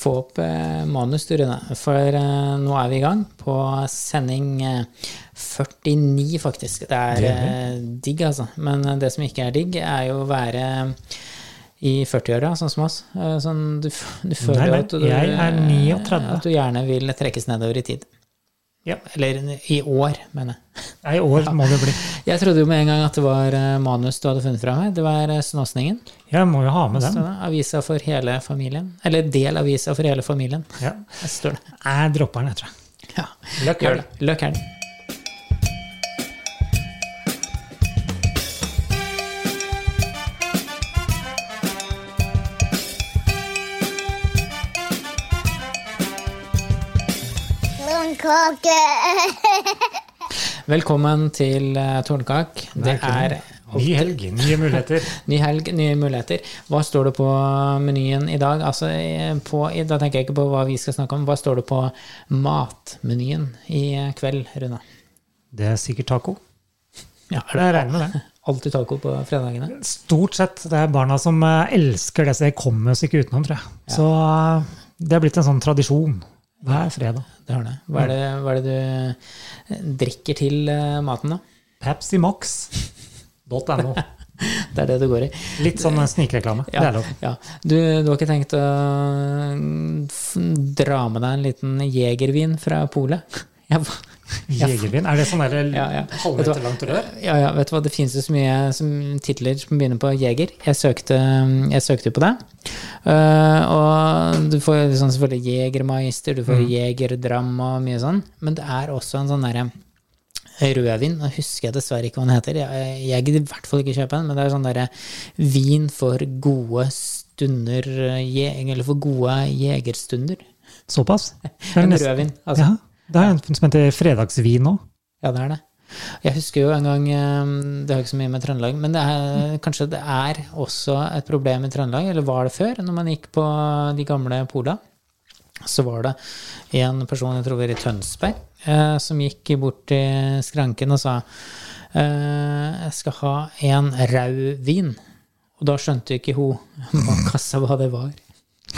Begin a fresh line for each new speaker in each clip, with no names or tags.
få opp eh, manus, du Rune. For eh, nå er vi i gang på sending eh, 49, faktisk. Det er eh, digg, altså. Men eh, det som ikke er digg, er jo å være i 40-åra, sånn som oss. Eh, Sånn, du, f- du føler
Nei, nei,
at, du, eh,
jeg er 39.
at du gjerne vil trekkes nedover i tid.
Ja.
Eller i år, mener jeg.
Nei, I år må det bli.
Jeg trodde jo med en gang at det var eh, manus du hadde funnet fra meg. Det var eh, Snåsningen.
Jeg må jo ha med den.
Så Avisa for hele familien. Eller del avisa for hele familien.
Ja.
Jeg står det.
Jeg dropper den, jeg tror jeg.
Ja.
Løkk
Gjør
er
det. Løk er det.
Blomkake.
Velkommen til eh, Tårnkak. Det er
Ny helg, nye muligheter.
ny helg, nye muligheter. Hva står det på menyen i dag? Altså, eh, på, i- da tenker jeg ikke på hva vi skal snakke om. Hva står det på matmenyen i eh, kveld, Rune?
Det er sikkert taco.
Ja,
Jeg regner med det.
Alltid taco på fredagene.
Stort sett det er barna som eh, elsker det, så de kommer oss ikke utenom, tror jeg. Så eh, det er blitt en sånn tradisjon hver fredag.
Det har det. Hva er det, hva er det du eh, drikker til eh, maten, da?
Pepsimax.no.
Det er det du går i.
Litt sånn snikreklame.
Ja,
Det er lov.
Ja. Du, du har ikke tenkt å mm, f- dra med deg en liten jegervin fra polet? Jeg, ba-
Jegervin. Er det sånn der
Ja, ja. Vet du
halvmeter
hva?
langt rør?
ja, ja, vet du hva, det finnes jo så mye som titler som begynner på jeger. Jeg søkte, jeg søkte på det. Eh, og du får jo sånn selvfølgelig jegermeister, du får jegerdramma og mye sånn. Men det er også en sånn derre Rødvin, nå husker jeg dessverre ikke hva den heter. Jeg, jeg gidder i hvert fall ikke kjøpe den, men det er sånn derre vin for gode stunder eh, je, Eller for gode jegerstunder.
Såpass? Det er
En
nesten-
rødvin, altså.
Ja, det er en som heter fredagsvin òg.
Ja, det er det. Jeg husker jo en gang eh, Det har ikke så mye med Trøndelag, men det er, kanskje det er også et problem i Trøndelag, eller var det før, når man gikk på de gamle pola. Så var det en person, jeg tror det var i Tønsberg, eh, som gikk bort til skranken og sa eh, jeg skal ha en rød vin. Og da skjønte jo ikke hun bak kassa hva det var.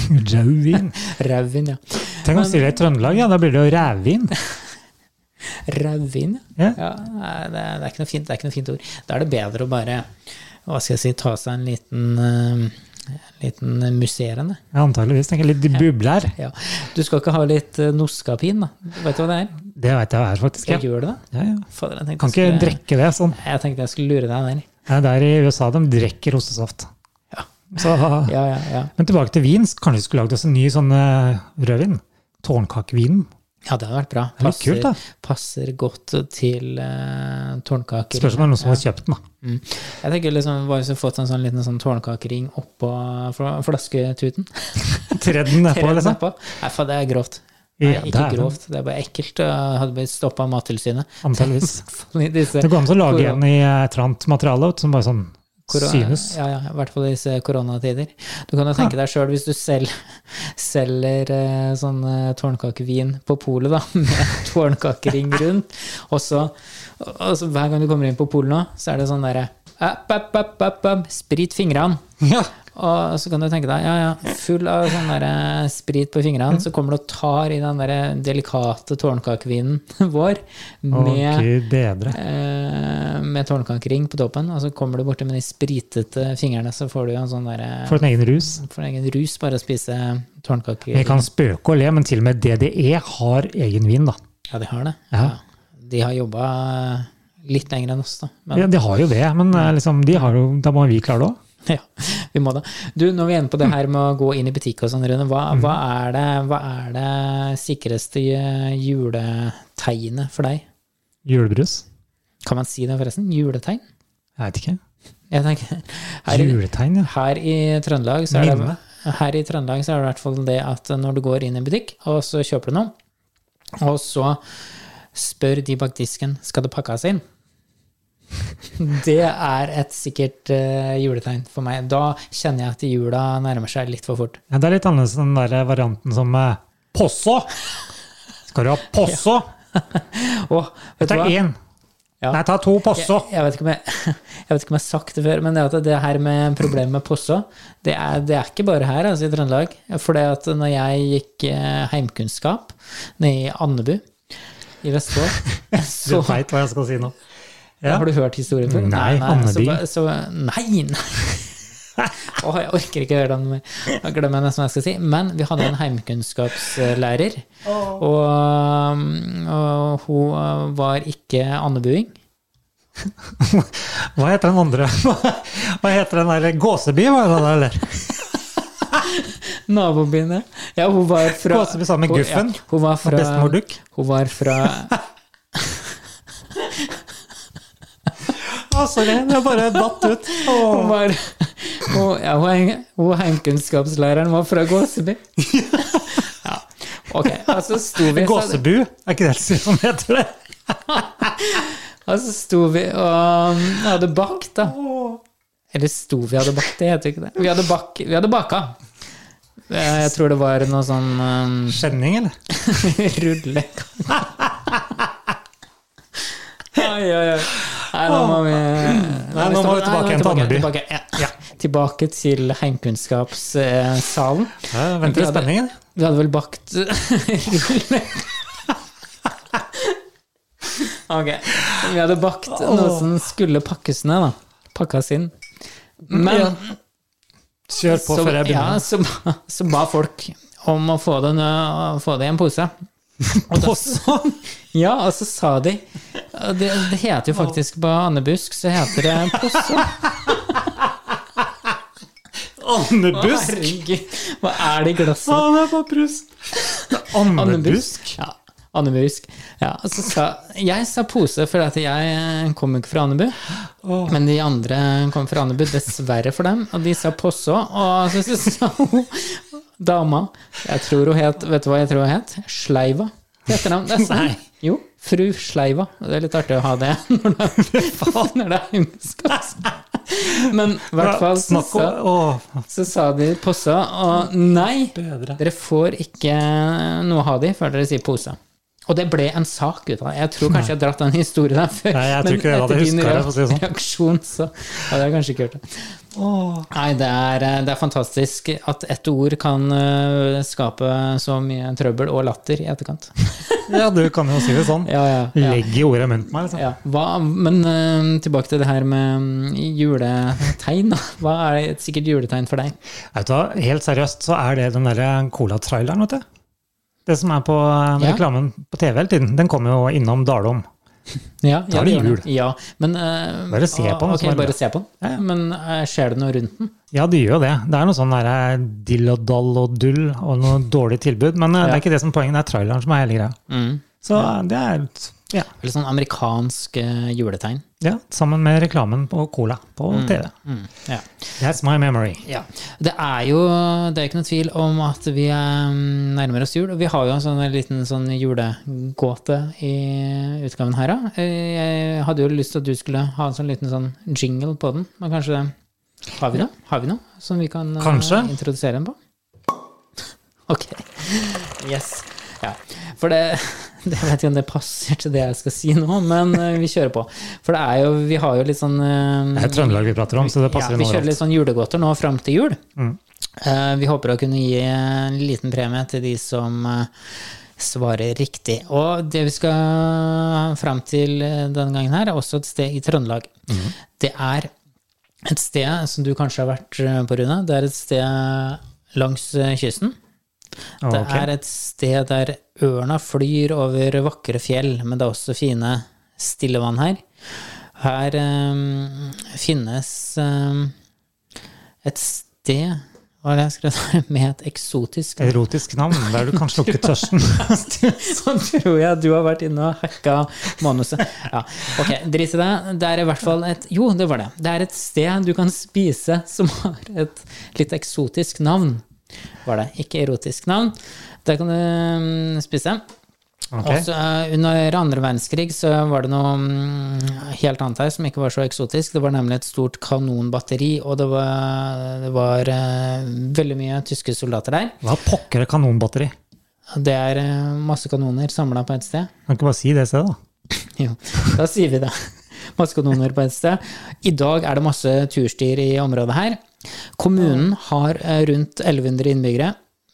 Rødvin.
Rød vin, ja.
Tenk om man sier det i Trøndelag, ja. Da blir det jo rævvin.
Rød vin, ja.
Ja.
Ja, nei, det, er- det, er ikke noe fint, det er ikke noe fint ord. Da er det bedre å bare hva skal jeg si, ta seg en liten, eh, liten musserende.
Ja, antageligvis. Tenker jeg litt bubler.
Ja. Du skal ikke ha litt eh, Noskapin, da? Vet du hva det er?
Det veit jeg hva er, faktisk.
Jeg
Ja.
gjør det, da.
Ja, ja.
Fader, jeg tenkte
Kan ikke
jeg skulle-
drikke det sånn.
Jeg tenkte jeg skulle lure deg der.
Nei, der i USA de drikker ostesaft.
Ja.
Så,
Ja, ja, ja.
men tilbake til vin. så Kanskje vi skulle lagd oss en ny sånn eh, rødvin? Tårnkakevinen.
ja, det hadde vært bra.
Det er litt kult, da.
passer godt til uh, tårnkaker.
Spørs om det er noen som har kjøpt den. da.
Mm. Jeg tenker liksom bare så fått en sånn liten sånn tårnkakering oppå fl- flasketuten.
Tredd den nedpå,
Rett
liksom.
nedpå. Nei, faen, det er grovt. Nei,
Ja,
ikke
det er det.
grovt. Det er bare ekkelt. Jeg hadde blitt stoppa av Mattilsynet. Sånn
Antageligvis.
I disse
Det går an å lage
Korona-
en i eh, et eller annet materiale vet du, som bare sånn
korona-
synes.
Ja, ja, I hvert fall i disse koronatider. Du kan jo tenke deg sjøl, hvis du selv selger eh, sånn eh, tårnkakevin på polet, da, med tårnkakering rundt, og så, og så hver gang du kommer inn på polet nå, så er det sånn derre app, app, app, app, app, Sprit fingrene.
Ja.
Og så kan du tenke deg, ja ja, full av sånn der eh, sprit på fingrene, så kommer du og tar i den der eh, delikate tårnkakevinen vår
Å,
med,
gud bedre.
eh, med tårnkakering på toppen, og så kommer du borti med de spritete fingrene, så får du jo en sånn derre
For en egen rus.
Får en egen rus bare å spise
Vi
tårnkaker.
kan spøke og le, men til og med DDE har egen vin, da.
Ja, de har det.
Ja.
De har jobba litt lenger enn oss, da. Men
Ja, de har jo det, men eh, liksom, de har jo, da må vi klare det òg.
ja, vi må det. Du, når vi er inne på det her med å gå inn i butikk og sånn, Rune, hva, hva, er det, hva er det sikreste eh, juletegnet for deg?
Julebrus.
Kan man si det, forresten? Juletegn?
Jeg veit ikke.
Jeg tenker, her, i-
Juletegn, ja.
her i Trøndelag så er det
Minne.
her i Trøndelag så er det i hvert fall det at når du går inn i en butikk, og så kjøper du noe, og så spør de bak disken skal det pakkes inn. Det er et sikkert eh, juletegn for meg. Da kjenner jeg at jula nærmer seg litt for fort.
ja. Det er litt annerledes enn den der varianten som eh, Posso! Skal du ha posso?
Åh, vet
Det
du hva?
er én.
Ja.
Nei, ta to Posso.
Jeg, jeg, vet ikke om jeg, jeg vet ikke om jeg har sagt det før, men det, at det her med problemet med Posso, det er, det er ikke bare her altså, i Trøndelag. For det at når jeg gikk eh, heimkunnskap nede i Andebu i Vestfold,
Du
så
veit hva jeg skal si nå. Ja.
Har du hørt historien før?
Nei,
så,
Andebu.
så, nei, nei. Åh, jeg orker ikke høre den mer. Da glemmer jeg nesten hva jeg skal si. Men vi hadde en heimkunnskapslærer, og, um, og hun eh, var ikke andebuing.
Hva heter den andre? Hva heter den der Gåseby, var det det, eller?
Nabobyen, ja. ja. Hun var fra
Gåseby sammen med
hun-
Guffen
Ja, hun var
Og bestemor
fra,
Duck?
hun var fra
Å, sorry, det bare datt ut.
Hun
Åh.
var hun, ja, hun, heim- hun heimkunnskapslæreren var fra Gåseby. Ja. Ok, og så sto vi så,
Gåsebu, er ikke det det som heter det?
og så sto vi og um, hadde bakt, da.
Åh.
Eller sto vi hadde bakt, det heter jo ikke det. Vi hadde, bak, vi hadde baka. Eh, Jeg tror det var noe sånn um,
Skjenning, eller?
Rullekake. Oi, oi, oi. Nei, nå må vi
Nei, nå må vi tilbake igjen til Andeby.
Tilbake, ja. tilbake til heimkunnskapssalen.
Ja, jeg venter i spenning. jeg.
Vi hadde vel bakt rullekake Ok. Vi hadde bakt noe som skulle pakkes ned, da. Pakkas inn. Men
Ja. Kjør på
så,
før jeg
ja,
begynner.
så, ba- så ba folk om å få det, nø- få det i en pose.
Posso.
Ja, og så sa de Det, det heter jo faktisk på Andebusk, så heter det Posso.
Åndebusk.
Herregud, hva er det i glasset?
Faen, jeg får prust. Åndebusk?
Ja, Andebusk. Ja, og så sa, jeg sa pose, for at jeg eh, kom jo ikke fra Andebu.
Åh.
Men de andre kom fra Andebu, dessverre for dem. Og de sa Posso, og så sa hun dama Jeg tror hun het Vet du hva jeg tror hun het? Sleiva. Heter han. Det er sant. Jo, fru Sleiva. Det er litt artig å ha det når det er, når det er himmelskap. Men i hvert fall så,
Snakk
sa-
om Åh,
så sa de Posso, og nei,
bedre.
dere får ikke noe av de før dere sier pose. Og det ble en sak ut av det. Jeg tror kanskje jeg har dratt den historien her før.
Nei, jeg tror ikke jeg hadde
etter din
husket det, for å si det sånn.
reaksjon, så hadde jeg kanskje ikke hørt det.
Åh.
Nei, det er, det er fantastisk at ett ord kan øh, skape så mye trøbbel og latter i etterkant.
Ja, du kan jo si det sånn.
Ja, ja, ja.
Legg i ordet i munnen på meg. Liksom.
ja. Hva, men øh, tilbake til det her med mm, juletegn. da. Hva er et sikkert juletegn for deg?
Vet du hva, helt seriøst så er det den derre Cola-traileren, vet du. Det som er på eh,
Ja.
reklamen på TV hele tiden. Den kommer jo innom Dalom.
Ja, ja,
Da er det
gjør
jul.
Ja, men, øh,
Bare se på den,
ok,
så er det bra.
bare se på den.
Ja, ja.
Men øh, skjer det noe rundt den?
Ja, det gjør jo det. Det er noe sånn derre dill og dall og dull og noe dårlig tilbud. Men eh, det er ikke det som er poenget, det er traileren som er hele greia. Så eh, det er ja,
Eller sånn amerikansk eh, juletegn.
ja, sammen med reklamen på Cola på TV.
Ja.
That's my memory.
Det er jo det er ikke noe tvil om at vi eh, nærmer oss jul. Og vi har jo en sånn liten sånn julegåte i utgaven her. da. Eh, Jeg hadde jo lyst til at du skulle ha en sånn liten sånn jingle på den, men kanskje har vi noe? Har vi noe som vi kan eh,
Kanskje.
introdusere den på? Ok. Yes. Ja. For det, det jeg vet ikke om det passer til det jeg skal si nå, men eh, vi kjører på. For det er jo, vi har jo litt sånn
Det
eh,
er Trøndelag vi prater om, så det passer
ja,
Mm. inn
vi kjører
overalt.
litt sånn julegodter nå fram til jul. Eh, vi håper å kunne gi en liten premie til de som eh, svarer riktig. Og det vi skal fram til eh, denne gangen her, er også et sted i Trøndelag.
Mm.
Det er et sted som du kanskje har vært eh, på, Rune. Det er et sted langs eh, kysten.
Å,
Det
Ah, ok.
er et sted der ørna flyr over vakre fjell, men det er også fine stillevann her. Her eh, finnes eh, et sted Hva er det jeg skrev der? Med et eksotisk
Erotisk navn, der du kan slukke tørsten.
Så tror jeg du har vært inne og hacka manuset. Ja, ok, Drit i det. Det er i hvert fall et Jo, det var det. Det er et sted du kan spise som har et litt eksotisk navn. Var det. Ikke erotisk navn. Der kan du mm, spise.
Ok.
Også, eh, under andre verdenskrig så var det noe mm, helt annet her som ikke var så eksotisk. Det var nemlig et stort kanonbatteri, og det var, det var eh, veldig mye tyske soldater der.
Hva pokker er kanonbatteri?
Det er eh, masse kanoner samla på ett sted.
Kan ikke bare si det stedet, da.
Jo, da sier vi det. Maskedoner på et sted. I dag er det masse turstier i området her. Kommunen har eh, rundt 1100 innbyggere.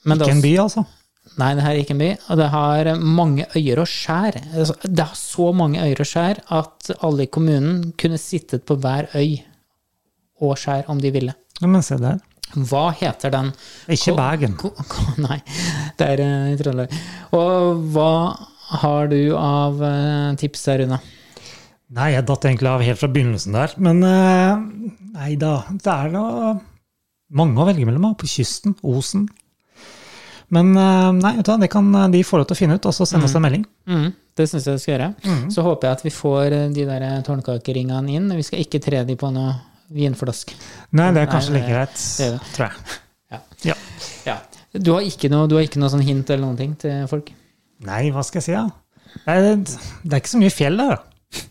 Men det er
Ikke en
også,
by, altså.
nei, det her er ikke en by. Og det har mange øyer og skjær. Altså, Det har så mange øyer og skjær at alle i kommunen kunne sittet på hver øy og skjær om de ville.
Ja, men se der.
Hva heter den?
Ikke
Ko-
Bergen.
ko- ko- Nei, det er eh, i Trøndelag. Og hva har du av eh, tips der, Rune?
Nei, jeg datt egentlig av helt fra begynnelsen der. Men eh, nei da, det er da mange å velge mellom da, på kysten, Osen. Men eh, nei, vet du, hva, det kan de få lov til å finne ut, og så sende oss en melding.
Mm, det syns jeg du skal gjøre. Så håper jeg at vi får eh, de der tårnkakeringene inn. Vi skal ikke tre de på noe vinflaske.
Nei, det er kanskje
Nei,
like greit,
det er
tror jeg.
Ja.
Ja.
Ja. Du har ikke noe, du har ikke noe sånn hint eller noen ting til folk?
Nei, hva skal jeg si, da? Det er, det er ikke så mye fjell der, da.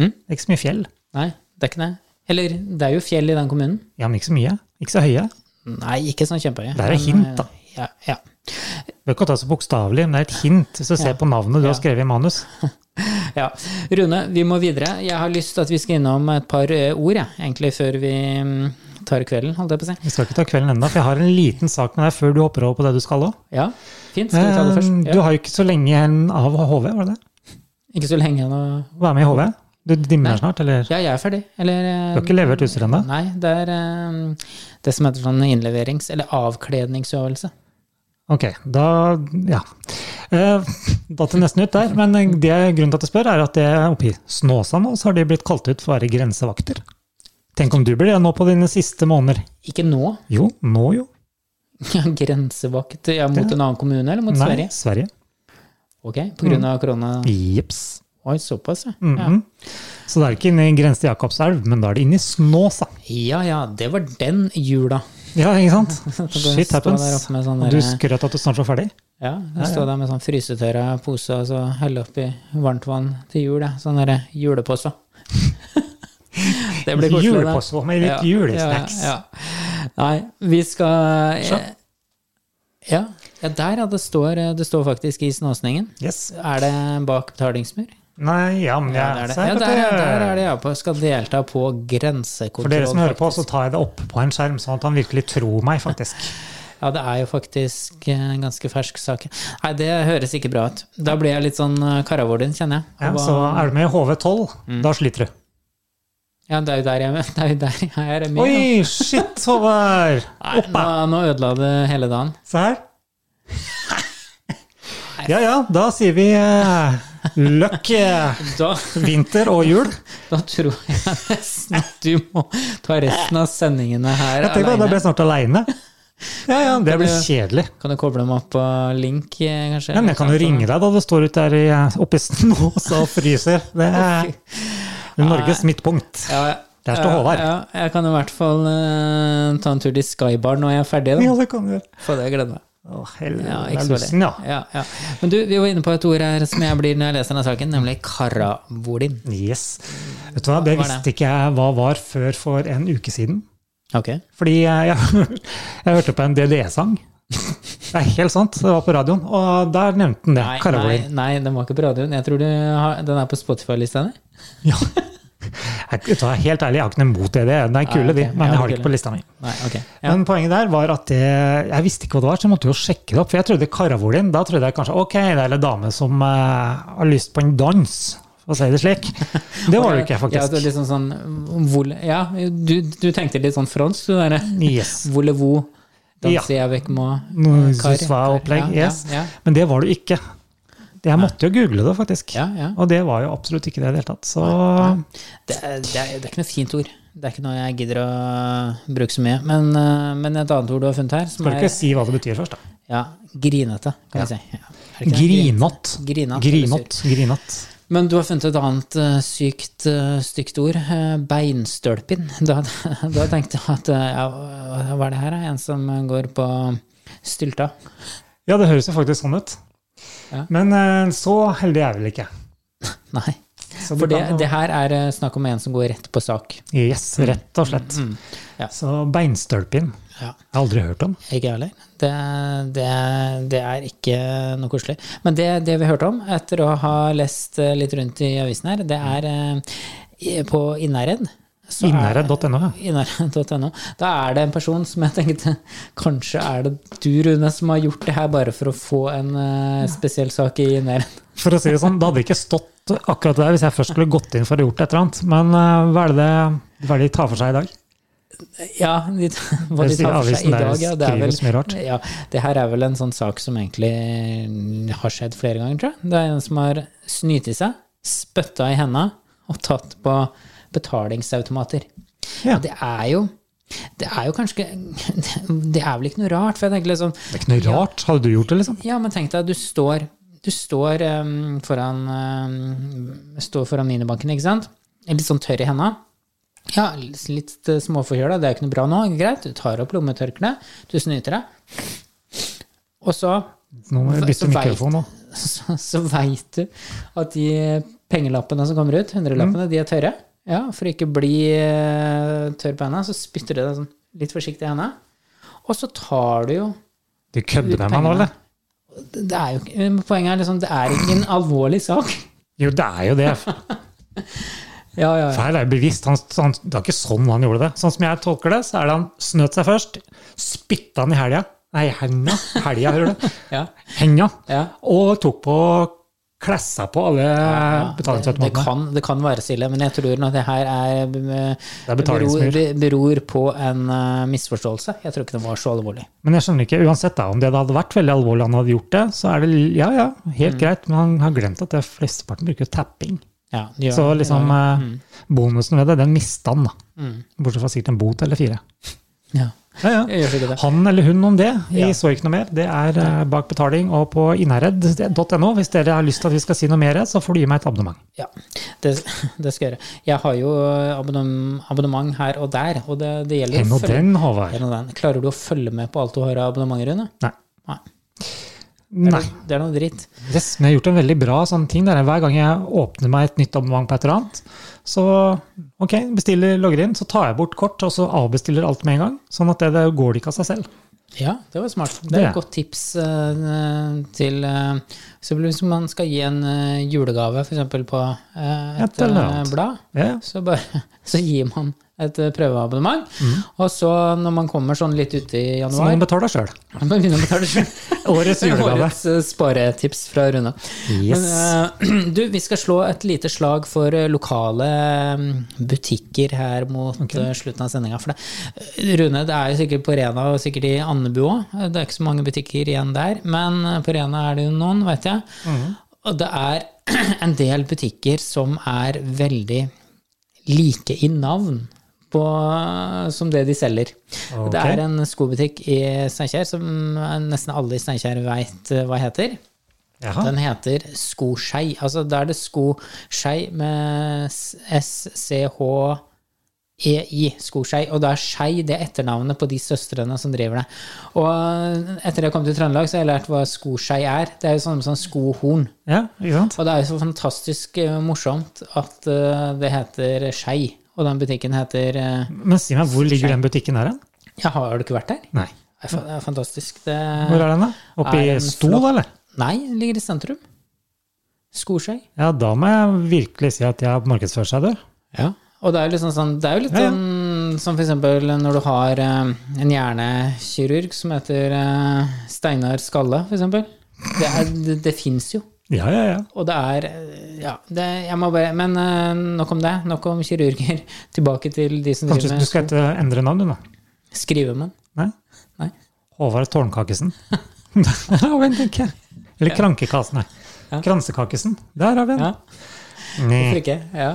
Mm?
Det er ikke så mye fjell.
Nei, det er ikke det? Eller det er jo fjell i den kommunen?
Ja, men ikke så mye. Ikke så høye.
Nei, ikke sånn kjempehøye.
Det er et
Men,
hint, da.
eh, Ja, ja.
Du bør ikke ta det så bokstavelig, men det er et hint hvis du ser på navnet du
Ja.
har skrevet i manus.
ja. Rune, vi må videre. Jeg har lyst til at vi skal innom et par eh, ord, jeg, egentlig, før vi mm, tar kvelden, holdt jeg på å si.
Vi skal ikke ta kvelden ennå, for jeg har en liten sak med deg før du hopper over på det du skal òg.
Ja, fint. Skal vi ta det først?
Eh, Du
Ja.
har jo ikke så lenge igjen av HV, var det det?
Ikke så lenge nå.
Å være med i HV? Du dimmer snart, eller?
Ja, jeg er ferdig. Eller eh,
Du har ikke levert utstyr ennå?
Nei, det er eh, det som heter sånn innleverings- eller avkledningsøvelse.
Ok, da ja. Eh, Datt det nesten ut der. Men eh, det grunnen til at jeg spør, er at det er oppe i Snåsa nå, så har de blitt kalt ut for å være grensevakter. Tenk om du blir det nå på dine siste måneder.
Ikke nå.
Jo, nå jo.
Ja, Grensevakt ja, mot
Det-
en annen kommune eller mot
Nei, Mm.
Sverige?
Sverige.
Ok, på grunn av korona.
Jips.
Oi, såpass, ja.
Mhm. Så det er ikke inne i grense til Jakobselv, men da er det inne i Snåsa.
Ja ja, det var den jula.
Ja, ikke sant?
Så kan du
Shit
stå
happens.
der oppe med sånn
Og
der-
Du skrøt at du snart var ferdig?
Ja, jeg står der med sånn frysetørra pose og så helle oppi varmt vann til jul. jeg. Sånne der julepose. det blir koselig. det.
Julepose med litt julesnacks.
Ja, ja. Nei, vi skal eh,
Så.
ja, ja, der ja, det står, eh, det står faktisk i Snåsningen.
Yes.
Er det bak betalingsmur?
Nei, ja, men jeg
Der, er det.
ser
Ja,
at
der,
det-
der er det ja på. Skal delta på
For
grensekontroll.
dere som hører på,
faktisk.
så tar jeg det opp på en skjerm, sånn at han virkelig tror meg, faktisk.
Ja, det er jo faktisk eh, en ganske fersk sak. Nei, det høres ikke bra ut. Da blir jeg litt sånn eh, karavordin, kjenner jeg.
Ja,
Hva- Mm.
så er du med i HV12, da sliter du.
ja, det er jo der jeg, det er, jo der jeg er med. da.
Oi, shit, Håvard!
Nei, nå,
Oppe!
nå ødela det hele dagen.
Se her. Ja ja, da sier vi eh, løkk, eh,
Da,
vinter og jul.
da tror jeg nesten at du må ta resten av sendingene her
Jeg tenker at da blir
aleine.
jeg snart aleine. Ja ja, det blir kjedelig.
Kan du koble dem opp på link, eh, kanskje?
Ja, men jeg kan jo ringe deg da du står ute der i- eh, oppe i snåsa og fryser. Det er Norges midtpunkt.
Ja, ja.
Der står Håvard.
Ja, ja, jeg kan i hvert fall eh, ta en tur til Skybar når jeg er ferdig.
Ja,
Da.
det kan du gjøre.
For det gleder jeg meg.
Å, helvete.
Ja,
jeg
ikke
er
så
lusen, ja.
veldig. Ja, ja. Men du, vi var inne på et ord her som jeg blir når jeg leser denne saken, nemlig karavolin.
Yes. Vet du hva,
Hva
det
er
visste ikke jeg hva var før for en uke siden.
Ok.
Fordi jeg, jeg hørte på en DDE-sang. Det er helt sant, det var på radioen. Og der nevnte den det.
Nei, nei,
Karavolin.
nei, den var ikke på radioen. Jeg tror du har, den er på Spotify-lista di.
Ja. Jeg, vet du hva, helt ærlig, jeg har ikke noe mot DDE. E. Den er kule,
ok.
de.
Ja,
Men jeg har
kule.
det ikke på lista mi.
Nei, ok. Ja.
Men poenget der var at det, jeg visste ikke hva det var, så jeg måtte jo sjekke det opp. For jeg trodde karavolin, da trodde jeg kanskje ok, det er en dame som eh, har lyst på en dans, for å si det slik. Det var det jo
Ja,
ikke,
det
faktisk.
er liksom sånn, vol- ja du, du tenkte litt sånn fransk, du derre.
Yes.
Volevo, danser jeg vekk
Noe
med
Zuswa-opplegg.
Ja,
Yes.
ja,
Men det var det jo ikke. Jeg måtte jo google det, faktisk.
ja, ja.
Og det var jo absolutt ikke det i det hele tatt. Så
Det er, det, er, det er ikke noe fint ord. Det er ikke noe jeg gidder å bruke så mye. Men, eh, men et annet ord du har funnet her, som
bør
er
ikke si hva det betyr først, da.
ja, grinete, kan
Ja.
vi si. Ja. Er det ikke det?
Grinott.
Grinete,
Grinott. Grinott.
Men du har funnet et annet eh, sykt, eh, stygt ord. eh, Beinstølpin. Da, da tenkte jeg at eh, ja, hva er det her? eh? En som går på stylta?
Ja, det høres jo faktisk sånn ut.
Ja.
Men eh, så heldig er jeg vel ikke.
Nei.
Så
For det,
kan jo-
det her er eh, snakk om en som går rett på sak.
Yes, rett og slett.
Ja.
Så beinstølpin.
Ja.
Jeg har aldri hørt om.
Ikke jeg heller. Det, det, det er ikke noe koselig. Men det, det vi hørte om etter å ha lest eh, litt rundt i avisen her, det er eh, i- på Innherred. så er-
Innherred.no, ja.
Innherred.no. Da er det en person som jeg tenkte kanskje er det du, Rune, som har gjort det her bare for å få en eh, spesiell sak i Innherred.
For å si det sånn, det hadde ikke stått akkurat der hvis jeg først skulle gått inn for å gjort et eller annet. Men eh, hva er det, hva er det de tar for seg i dag?
Ja, de, hva de
Det sier
tar for seg
avisen
i
der,
dag. Ja, det, er vel,
skrives mye rart.
ja, det her er vel en sånn sak som egentlig mm, har skjedd flere ganger, tror jeg. Det er en som har snytt i seg, spytta i henda og tatt på betalingsautomater.
Ja.
Og det er jo det er jo kanskje Det er vel ikke noe rart, for jeg tenker litt sånn
Det er ikke noe rart. Hadde du gjort det, liksom?
ja, men tenk deg, du står, du står eh, foran, eh, står foran minibanken, ikke sant? Litt sånn tørr i henda. Ja, litt eh, småforkjøla, det er ikke noe bra nå. Greit, du tar opp lommetørkleet, du snyter deg. Og så,
Nå
Så-
må vi bytte
så
mikrofon nå.
så, så veit du at de pengelappene som kommer ut, hundrelappene, de er tørre. Ja, for å ikke bli eh, tørr på henda, så spytter du deg sånn litt forsiktig i henda. Og så tar du jo
Du kødder med meg nå, eller?
det er jo, ikke- poenget er liksom, det er ikke en alvorlig sak.
Jo, det er jo det.
Ja, ja, ja.
Feil er jo bevisst. Han, han, det var ikke sånn han gjorde det. Sånn som jeg tolker det, så er det han snøt seg først, spytta han i helga, nei, henda, helga, hører du,
ja,
henga,
ja.
og tok på klessa på alle
Det,
betalingsautomatene.
kan, det kan være så ille, men jeg tror nå at det her er, eh,
er
beror,
betalingsmur.
be- beror på en eh, misforståelse. Jeg tror ikke det var så alvorlig.
Men jeg skjønner ikke, uansett da, om det hadde vært veldig alvorlig han hadde gjort det, så er det ja, ja,
Mm.
helt greit, men han har glemt at det flesteparten bruker tapping.
Ja, Mm. det gjør
Så
det.
liksom eh, bonusen ved det, den mista han, da.
Mm.
Bortsett fra sikkert en bot eller fire.
ja.
Ja, ja.
Jeg gjør sikkert det.
Han eller hun om det. Vi
Ja.
så ikke noe mer. Det er eh, bak betaling og på innherred.no. Hvis dere har lyst til at vi skal si noe mer, så får du gi meg et abonnement.
Ja, det, det skal jeg gjøre. Jeg har jo abonnement, abonnement her og der, og det, det gjelder
Den og den, Håvard.
Hen og den. Klarer du å følge med på alt du har av abonnementer, Rune?
Nei.
Nei.
Nei.
Det er noe dritt.
Yes, men jeg har gjort en veldig bra sånn ting. Der. Hver gang jeg åpner meg et nytt abonnement på et eller annet, så ok, bestiller, logger inn, så tar jeg bort kort, og så avbestiller alt med en gang. Sånn at det, det går det ikke av seg selv.
Ja, det var smart. Det
Det
er
er.
et godt tips eh, til eh, så Hvis man skal gi en eh, julegave, f.eks. på eh, et
Et eller
eh,
annet.
blad,
Ja,
så, bare, så gir man et eh, prøveabonnement. Og så, når man kommer sånn litt ute i
Mm. så må
januar
man betale sjøl.
Man begynner å betale selv.
Årets julegave.
Årets eh, sparetips fra Rune.
Yes.
Men, eh, du, vi skal slå et lite slag for eh, lokale mm, butikker her mot eh, slutten av sendinga. For det, eh, Rune, det er jo sikkert på Rena og sikkert i Andebu òg. Det er ikke så mange butikker igjen der. Men eh, på Rena er det jo noen, veit jeg.
Mhm.
Og det er en del butikker som er veldig like i navn på, eh, som det de selger.
Ok.
Det er en skobutikk i Steinkjer som eh, nesten alle i Steinkjer veit hva heter.
Jaha.
eh, Den heter Skoskei. Altså, da er det Skoskei med s- S-C-H-E-I. Skoskei. Og da er Skei det er etternavnet på de søstrene som driver det. Og eh, etter jeg kom til Trøndelag, så har jeg lært hva Skoskei er. Det er jo sånn som skohorn.
Ja, ikke sant?
Og det er jo så fantastisk eh, morsomt at eh, det heter Skei. Og den butikken heter eh,
Men si meg, hvor ligger den butikken her? hen?
Ja, har du ikke vært der?
Nei.
Det er fa- det er fantastisk. Det,
Hvor er den, da? Oppe
Er
i
den
Stol,
flott?
eller?
nei, den ligger i sentrum. Skoskei.
Ja, da må jeg virkelig si at jeg har markedsført seg, du.
Ja. Og det er jo liksom sånn, det er jo litt
Ja, ja.
sånn som for eksempel når du har eh, en hjernekirurg som heter eh, Steinar Skalle, for eksempel. Det, er, det, det fins jo.
Ja, ja, ja.
Og det er eh, Ja, det, jeg må bare Men eh, nok om det. Nok om kirurger. Tilbake til de som
Kanskje
driver
du
med
skal hete- endre navn, du, da?
skrivemenn.
Nei?
Nei.
Håvard Tårnkakesen. Der har vi en, tenker jeg. Eller Krankekasen, nei. Kransekakesen. Der har vi en.
Ja,
Nei.
hvorfor ikke? Ja.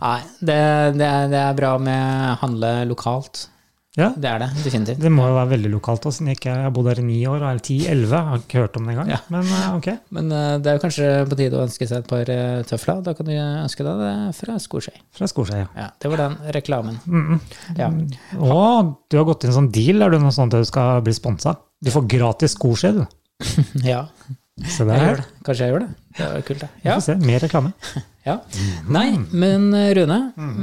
Nei, det, det, er, det er bra med handle lokalt.
Ja.
Det er det definitivt.
Det må jo være veldig lokalt, da, siden jeg ikke jeg har bodd her i ni år, eller ti-elleve. Har ikke hørt om det engang.
Ja.
Men eh, ok.
Men eh, det er jo kanskje på tide å ønske seg et par eh, tøfler. Da kan du ønske deg det fra Skoskei.
Fra Skorsøya.
Ja, det var den reklamen. Ja.
Å, du har gått inn i en sånn deal, er du noe sånt at du skal bli sponsa? Du får gratis skosje, du.
ja.
Se
Jeg gjør
der.
det. Kanskje jeg gjør det. Det var kult, det.
Vi
Ja,
får se. Mer reklame.
ja.
Mm-hmm.
Nei, men eh, Rune,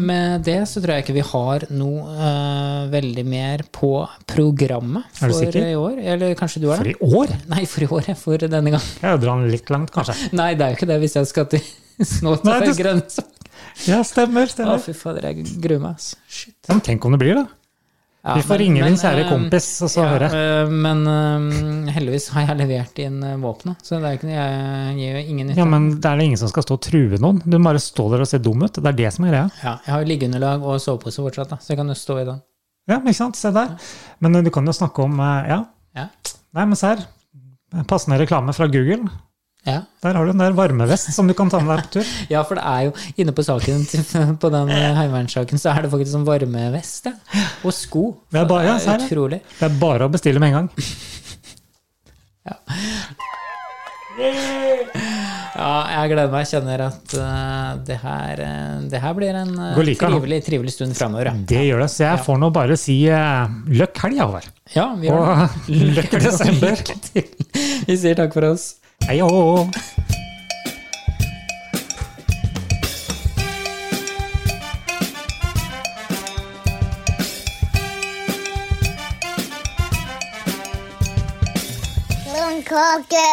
med det så tror jeg ikke vi har noe eh, veldig mer på programmet
Er du
for
sikker?
i år. Eller kanskje du har
For
det?
i år?
Nei, for i år. ja, For denne gang.
Jeg drar den litt langt, kanskje.
Nei, det er jo ikke det, hvis jeg skal til
Nei,
Snåtøy
du-
grense.
Ja, stemmer.
Å,
stemmer.
fy fader, jeg gruer meg. ass. Shit.
Ja, men tenk om det blir, da.
Ja,
Vi får
men-
ringe
men,
din kjære
eh,
kompis og så høre.
Ja, eh, men eh, heldigvis har jeg levert inn eh, våpenet, så det er ikke, jeg gir jo ingen nytte.
Ja, men det er det ingen som skal stå og true noen. Du må bare stå der og se dum ut. Det er det som er greia.
Ja, jeg har jo liggeunderlag og sovepose fortsatt, da, så jeg kan jo stå i den.
Ja, men ikke sant? Se der. Men eh, du kan jo snakke om eh, Ja,
Ja.
nei, men se her. Passende reklame fra Google.
Ja.
Der har du en der varmevest som du kan ta med deg på tur.
ja, for det er jo inne på saken til- på den eh, heimevernssaken, så er det faktisk sånn varmevest ja. og sko.
Det er bare- ja, så er det.
utrolig.
Det er bare å bestille med en gang.
Ja, jeg gleder meg. Jeg kjenner at eh, det, her, eh, det her blir en eh,
Går like, da.
trivelig, trivelig stund framover. Ja.
Det gjør det. Så jeg får nå bare si eh, løkk helg, Håvard.
ja, vi gjør det.
Og løkk desember.
Vi sier takk for oss.
Hei, hå.
Blomkake!